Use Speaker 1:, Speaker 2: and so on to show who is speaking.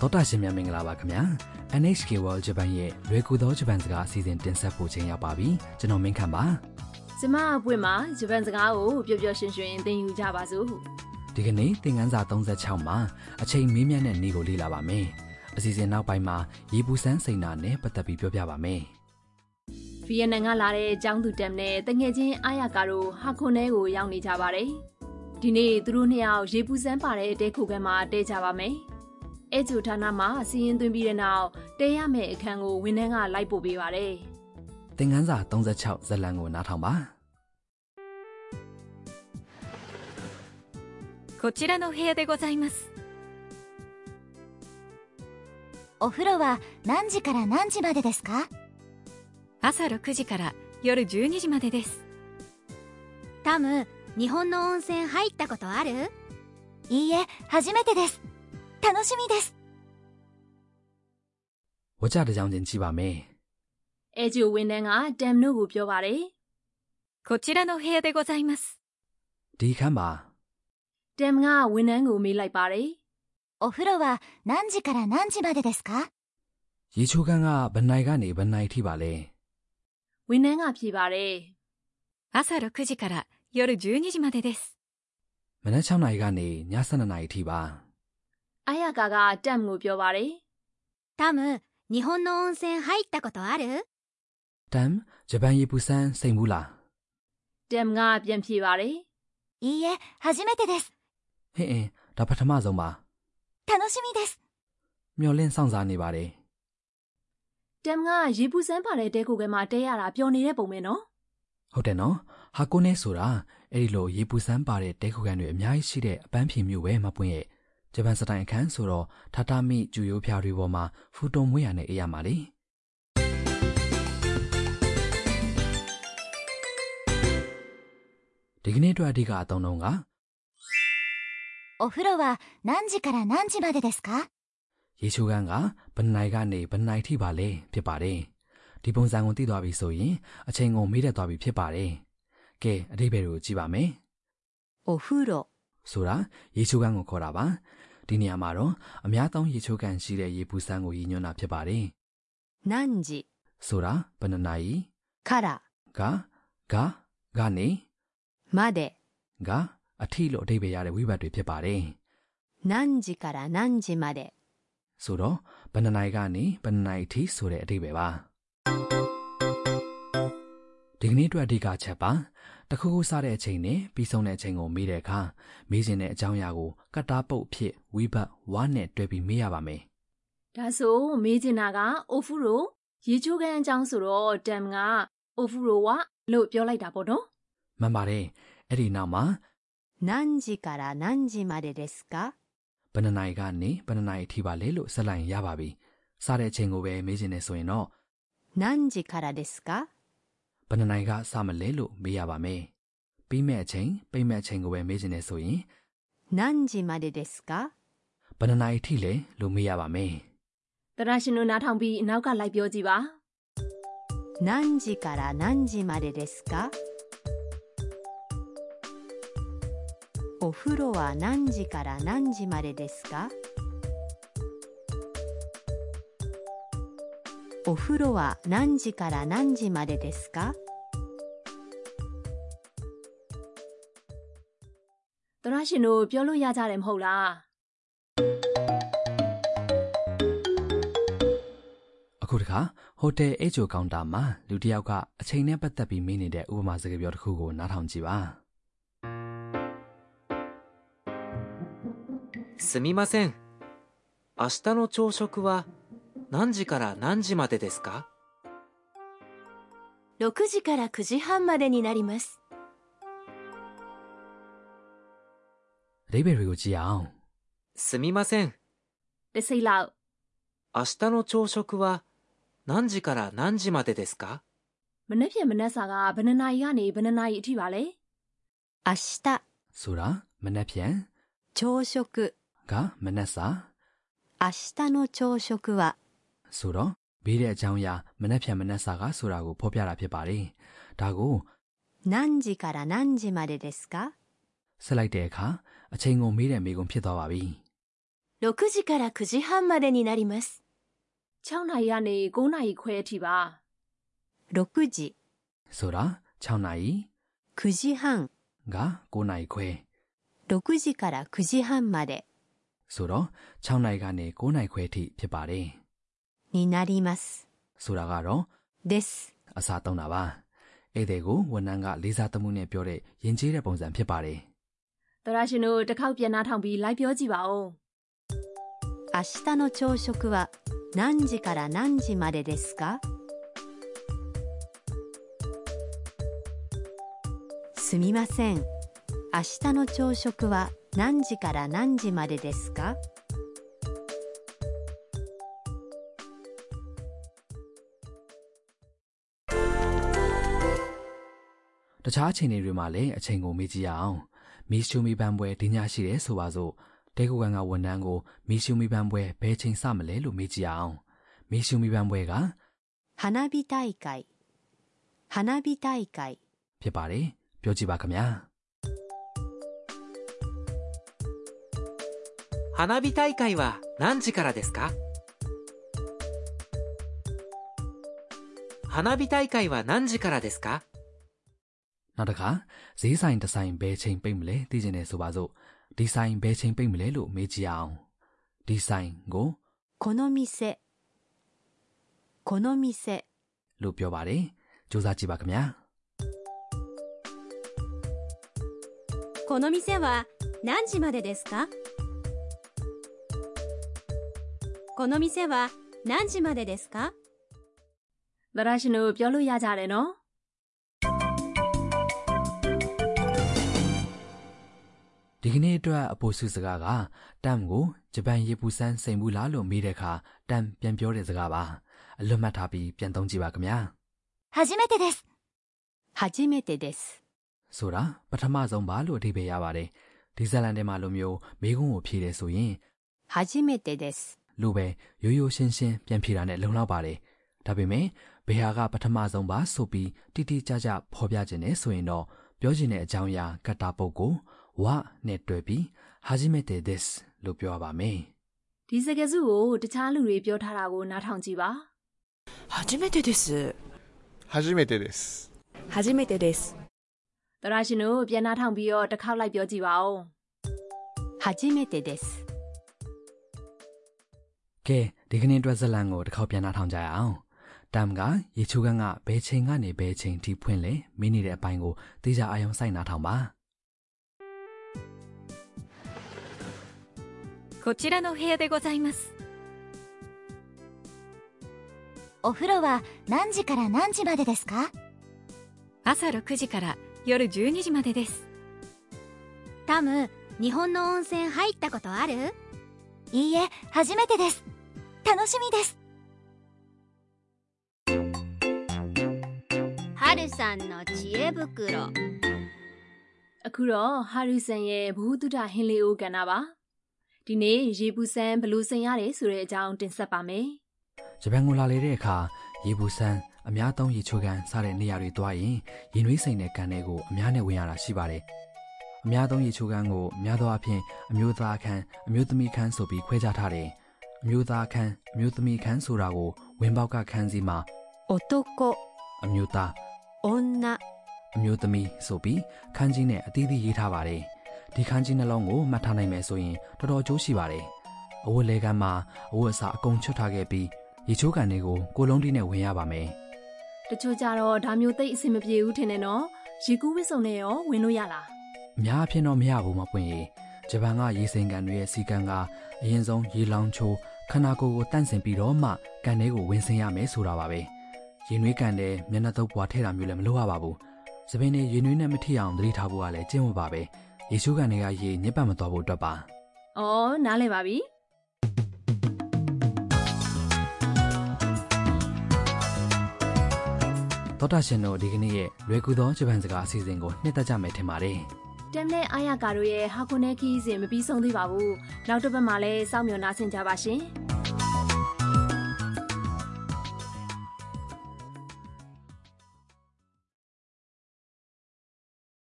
Speaker 1: သောတာရှင်များမင်္ဂလာပါခင်ဗျာ NHK World Japan ရဲ့လွယ်ကူသောဂျပန်စကားအစီအစဉ်တင်ဆက်ဖို့ချိန်ရောက်ပါပြီကျွန်တော်မင်းခမ်းပါ
Speaker 2: ကျမအပွင့်မှာဂျပန်စကားကိုပျော်ပျော်ရွှင်ရွှင်သင်ယူကြပါစို့
Speaker 1: ဒီကနေ့သင်ခန်းစာ36မှာအချိန်မေးမြန်းတဲ့နေ့ကိုလေ့လာပါမယ်အစီအစဉ်နောက်ပိုင်းမှာရေပူစမ်းစိန်နာနဲ့ပတ်သက်ပြီးပြောပြပါမယ်
Speaker 2: ဗီယက်နမ်ကလာတဲ့ကျောင်းသူတမ်နဲ့တငယ်ချင်းအာရကာတို့ဟာခွန်ထဲကိုရောက်နေကြပါတယ်ဒီနေ့သူတို့နှစ်ယောက်ရေပူစမ်းပါတဲ့တဲခုခဲမှာတဲကြပါမယ်အဲဂျူဌာနမှာစီရင်သွင်းပြီးတဲ့နောက်တဲရမယ့်အခန်းကိုဝန်ထမ်းကလိုက်ပို့ပေးပါတယ်
Speaker 1: သင်ခန်းစာ36ဇာတ်လမ်းကိုနားထောင်ပါ
Speaker 3: こちらの部屋でございますお風呂は何時から何時までですか朝6時から夜12時までですタム日本の温泉入ったことあるいいえ初めてです楽しみです
Speaker 1: ဝကြတစ်ကြောင်ချင်းကြည့်ပါမယ်
Speaker 2: အဲဂျူဝန်ထမ်းကတမ်တို့ကိုပြောပါတယ်
Speaker 3: こちらの部屋でございます
Speaker 1: ဒီခန်းပါ
Speaker 2: တမ်ကဝန်ထမ်းကိုမေးလိုက်ပါတယ်
Speaker 3: お風呂は何時から何時までですか
Speaker 1: ရေချိုးခန်းကဘယ်နိုင်ကနေဘယ်နိုင်ထိပါလဲ
Speaker 2: ဝန်ထမ်းကဖြေပါတယ်
Speaker 3: 朝6時から夜12時までです
Speaker 1: မနက်6နာရီကနေည7နာရီထိပါ
Speaker 2: အာရကာကတမ်ကိုပြောပါတယ်
Speaker 3: タム日本の温泉入ったことある
Speaker 1: တမ်ဂျပန်ရေပူစမ်းစိန်ဘူးလား
Speaker 2: တမ်ကပြန်ဖြေပါတယ်
Speaker 3: いいえ初めてです
Speaker 1: ဟင်းအင်းဒါပထမဆုံးပါ
Speaker 3: 楽しみです
Speaker 1: မျော်လင့်စောင့်စားနေပါတယ်
Speaker 2: တမ်ကရေပူစမ်းပါတဲ့တဲကိုကမှတဲရတာပျော်နေတဲ့ပုံပဲနော်
Speaker 1: ဟုတ်တယ်နော်ဟာကိုနေဆိုတာအဲ့ဒီလိုရေပူစမ်းပါတဲ့တဲခုကန်တွေအများကြီးရှိတဲ့အပန်းဖြေမျိုးပဲမပွင့်ရဲ့ဂျပန်စတိုင်အခန်းဆိုတော့ထာတာမိကျူရိုးဖြာတွေပေါ်မှာဖူတုံမွေးရနဲ့အေးရမှာလေဒီကနေ့အတွက်အဓိကအသုံးတော့က
Speaker 3: お風呂は何時から何時までですか
Speaker 1: ရေချိုးကန်းကဘယ်နိုင်ကနေဘယ်နိုင်ထိပါလဲဖြစ်ပါတယ်ဒီပုံစံကိုသိသွားပြီဆိုရင်အချိန်ကိုမေးတတ်သွားပြီဖြစ်ပါတယ်ကဲအတိအပယ်တွေကိုကြည့်ပါမယ်
Speaker 3: お風呂
Speaker 1: ဆိုတာရေချိုးကန်းကိုခေါ်တာပါဒီနေရာမှာတော့အများသုံးရေချိုးကန်းရှိတဲ့ရေပူစမ်းကိုရည်ညွှန်းတာဖြစ်ပါတယ်
Speaker 3: 何時
Speaker 1: ဆိုတာဘယ်နှစ်နာရီ
Speaker 3: から
Speaker 1: ကကကနေ
Speaker 3: まで
Speaker 1: ကအထီလို့အဓိပ္ပာယ်ရတဲ့ဝိဘတ်တွေဖြစ်ပါတယ်
Speaker 3: 何時から何時まで
Speaker 1: ဆိုတော့ဘယ်နှစ်နာရီကနေဘယ်နှစ်နာရီထိဆိုတဲ့အဓိပ္ပာယ်ပါဒီကနေ့အတွက်အဓိကအချက်ပါတစ်ခုခုစတဲ့အချိန်နဲ့ပြီးဆုံးတဲ့အချိန်ကိုမေးတဲ့အခါမေးခြင်းတဲ့အကြောင်းအရာကိုကတ္တာပုတ်ဖြစ်ဝိဘတ်ဝါနဲ့တွဲပြီးမေးရပါမယ်
Speaker 2: ဒါဆိုမေးချင်တာကအိုဖူရိုရေချိုးကန်အကြောင်းဆိုတော့တမ်ကအိုဖူရိုဝလို့ပြောလိုက်တာပေါ့နော်
Speaker 1: မှန်ပါတယ်အဲ့ဒီနောက်မှာ
Speaker 3: 何時から何時までですか
Speaker 1: ဘယ်နှစ်နာရီကနေဘယ်နှစ်နာရီထိပါလဲလို့ဆက်လိုက်ရင်ရပါပြီစတဲ့အချိန်ကိုပဲမေးချင်နေဆိုရင်တော့
Speaker 3: 何時からですか
Speaker 1: ဘယ်နှစ်နာရီကစမလဲလို့မေးရပါမယ်ပြီးမဲ့အချိန်ပိတ်မဲ့အချိန်ကိုပဲမေးချင်နေဆိုရင်
Speaker 3: 何時までですか
Speaker 1: ဘယ်နှစ်နာရီထိလဲလို့မေးရပါမယ်
Speaker 2: တရရှင်တို့နားထောင်ပြီးအနောက်ကလိုက်ပြောကြည့်ပါ
Speaker 3: 何時から何時までですかお風呂は何時から何時までですかお風呂は何時から何時までですか
Speaker 2: တရရှင်တို့ပြောလို့ရကြတယ်မဟုတ်လား
Speaker 1: အခုတခါဟိုတယ်အေဂျိုကောင်တာမှာလူတစ်ယောက်ကအချိန်နဲ့ပတ်သက်ပြီးမေးနေတဲ့ဥပမာစကားပြောတစ်ခုကိုနားထောင်ကြည့်ပါ
Speaker 4: すみません明日の朝食は何時から何時までですか
Speaker 3: 6時から9時半までになります
Speaker 1: အဓိပ္ပာယ်တွေကိုကြည့်အောင်
Speaker 4: すみません
Speaker 2: တစ်စိတ်လောက်
Speaker 4: 明日の朝食は何時から何時までですか
Speaker 2: မနှက်ပြက်မနှက်စာကဘယ်နှစ်နာရီကနေဘယ်နှစ်နာရီအထိပါလဲ
Speaker 3: 明日
Speaker 1: ဆိုတာမနက်ဖြန်
Speaker 3: 朝食
Speaker 1: ကမနက်စာ
Speaker 3: 明日の朝食は
Speaker 1: ဆိုတော့ဘေးတဲ့အကြောင်းအရာမနက်ဖြန်မနက်စာကဆိုတာကိုဖော်ပြတာဖြစ်ပါတယ်ဒါကို
Speaker 3: 何時から何時までですか
Speaker 1: ဆက်လိုက်တဲ့အခါအချိန်ကိုမေးတဲ့မိကုံဖြစ်သွားပါပြီ
Speaker 5: 6時から9時半までになります。
Speaker 2: 6နာရီကနေ9နာရီခွဲအထိပါ
Speaker 5: 6時、
Speaker 1: ဆိုတာ6နာရီ
Speaker 5: 9時半、
Speaker 1: က9နာရီခွဲ
Speaker 5: 6時から9時半まで
Speaker 1: ဆိုတော့6နာရီကနေ9နာရီခွဲအထိဖြစ်ပါတယ်
Speaker 5: になります。
Speaker 1: ဆိုတာကတော့
Speaker 5: です。
Speaker 1: အစာသုံးတာပါအဲ့ဒီကိုဝန်ထမ်းကလေးစားသမှုနဲ့ပြောတဲ့ယဉ်ကျေးတဲ့ပုံစံဖြစ်ပါတယ်
Speaker 2: သောရရှင်တို့တစ်ခေါက်ပြန်နှားထောင်ပြီးလိုက်ပြောကြည့်ပါဦး
Speaker 5: 明日の朝食は何時から何時までですかすみません。明日の朝食は何時から何時までですか
Speaker 1: တခြားအချိန်တွေမှာလည်းအချိန်ကိုမေ့ကြည့်ရအောင်မီရှူမီပန်းပွဲဒီညရှိတယ်ဆိုပါစို့တဲကိုကန်ကဝန်ထမ်းကိုမီရှူမီပန်းပွဲဘယ်ချိန်စမလဲလို့မေးကြည့်ရအောင်မီရှူမီပန်းပွဲက
Speaker 5: 花火大会。花火大会。
Speaker 1: ဖြစ်ပါတယ်ပြောကြည့်ပါခင်ဗျာ
Speaker 4: 花火大会は何時からですか花火大会は何時からですか
Speaker 1: နောက်တစ်ခါဈေးဆိုင်တစ်ဆိုင်ဘယ်ချိန်ပိတ်မလဲသိချင်တယ်ဆိုပါစို့ဒီဆိုင်ဘယ်ချိန်ပိတ်မလဲလို့မေးကြည့်ရအောင်ဒီဆိုင်ကို
Speaker 5: この店。この店。
Speaker 1: လို့ပြောပါတယ်စူးစမ်းကြည့်ပါခင်ဗျာ
Speaker 3: この店は何時までですかこの店は何時までですか
Speaker 2: သောရရှင်တို့ပြောလို့ရကြတယ်နော်
Speaker 1: ဒီကနေ့အတွက်အပိုစုစကားကတမ်ကိုဂျပန်ရေပူစမ်းစိန်ဘူးလားလို့မေးတဲ့အခါတမ်ပြန်ပြောတဲ့စကားပါအလွတ်မှတ်ထားပြီးပြန်သုံးကြည့်ပါခင်ဗျာ
Speaker 3: 初めてです
Speaker 5: 初めてです。
Speaker 1: ဆိုတာပထမဆုံးပါလို့အဓိပ္ပာယ်ရပါတယ်ဒီဇာတ်လန်ထဲမှာလိုမျိုးမေးခွန်းကိုဖြေတယ်ဆိုရင်
Speaker 5: 初めてです。
Speaker 1: လိုပဲရိုးရိုးရှင်းရှင်းပြန်ဖြေတာနဲ့လုံလောက်ပါတယ်ဒါပေမဲ့ဘယ်ဟာကပထမဆုံးပါဆိုပြီးတိတိကျကျဖော်ပြခြင်းနဲ့ဆိုရင်တော့ပြောခြင်းတဲ့အကြောင်းအရာကတ္တာပုတ်ကိုဝနဲ့တွဲပြီးဟာဂျီမေတေဒက်စ်လို့ပြောရပါမယ်
Speaker 2: ဒီစကားစုကိုတခြားလူတွေပြောထားတာကိုနားထောင်ကြည့်ပါ
Speaker 6: 初めてです
Speaker 7: 初めてです
Speaker 6: 初めてです
Speaker 2: သောရရှင်တို့ပြန်နှားထောင်ပြီးတော့တစ်ခေါက်လိုက်ပြောကြည့်ပါဦး
Speaker 5: 初めてです。
Speaker 1: ကဲဒီကနေ့အတွက်ဇတ်လန်ကိုတစ်ခေါက်ပြန်နှာထောင်ကြရအောင်တမ်ကရေချိုးကန်းကဘယ်ချိန်ကနေဘယ်ချိန်ထိဖွင့်လဲမိနေတဲ့အပိုင်းကိုသိကြအာရုံစိုက်နှာထောင်ပါ
Speaker 3: こちらの部屋でございます
Speaker 8: お風呂は何時から何時までですか
Speaker 3: 朝6時から夜12時までですタム日本の温泉入ったことある
Speaker 8: いいえ、初めてです。楽しみです。
Speaker 3: ハルさんの知恵袋
Speaker 2: အခုတော့ဟာရီဆန်ရဲ့ဘ ഹു တုဒ္ဒဟင်းလေးအိုးကဏ္ဍပါဒီနေ့ရေပူစမ်းဘယ်လို့စိန်ရတယ်ဆိုတဲ့အကြောင်းတင်ဆက်ပါမယ်
Speaker 1: ဂျပန်ကိုလာလေတဲ့အခါရေပူစမ်းအများသုံးရေချိုးကန်းစတဲ့နေရာတွေသွားရင်ရင်နွေးစိန်တဲ့ကန်တွေကိုအများနဲ့ဝင်ရတာရှိပါတယ်အများသုံးရေချိုးကန်းကိုအများသောအားဖြင့်အမျိုးသားခန်းအမျိုးသမီးခန်းဆိုပြီးခွဲခြားထားတယ်အမျိုးသားခန်းအမျိုးသမီးခန်းဆိုတာကိုဝင်ပေါက်ကခန်းစီမှာ
Speaker 5: 男、
Speaker 1: အမျိုးသား
Speaker 5: 女、
Speaker 1: အမျိုးသမီးဆိုပြီးခန်းကြီးနဲ့အသီးသီးရေးထားပါတယ်ဒီခန်းကြီးနှလုံးကိုမှတ်ထားနိုင်မယ်ဆိုရင်တော်တော်ကျိုးရှိပါတယ်အဝတ်လဲကမ်းမှာအဝတ်အစားအကုန်ချွတ်ထားခဲ့ပြီးရေချိုးကန်တွေကိုကိုလုံးတီးနဲ့ဝင်ရပါမယ်
Speaker 2: တချို့ကြတော့ဒါမျိုးသိပ်အဆင်မပြေဘူးထင်တယ်နော်ရေကူးဝစ်စုံနဲ့ရောဝင်လို့ရလား
Speaker 1: အများအပြားတော့မရဘူးမပွင့်ရေဂျပန်ကရေစိမ်ကန်တွေရဲ့စီကံကအရင်ဆုံးရေလောင်ချိုးခန္ဓာကိုယ်ကိုတန့်စင်ပြီးတော့မှကန်ထဲကိုဝင်ဆင်းရမယ်ဆိုတာပါပဲရေနွေးကန်တဲ့မျက်နှာတုပ်ပွားထဲတာမျိုးလည်းမလုပ်ရပါဘူးသပင်းတွေရေနွေးနဲ့မထိအောင်သတိထားဖို့ကလည်းကျင့်ဝတ်ပါပဲရေချိုးကန်တွေကရေညက်ပတ်မသွားဖို့အတွက်ပါ
Speaker 2: ။အော်နားလည်ပါပြီ
Speaker 1: သောတာရှင်တို့ဒီကနေ့ရဲ့လွယ်ကူသောဂျပန်စကားအစီအစဉ်ကိုနှစ်သက်ကြမယ်ထင်ပါတယ်
Speaker 2: ။တမ်နဲ့အာရကာတို့ရဲ့ဟာကိုနဲခီးစဉ်မပြီးဆုံးသေးပါဘူး။နောက်တစ်ပတ်မှလည်းစောင့်မျှော်နှားဆင်ကြပါရှင်။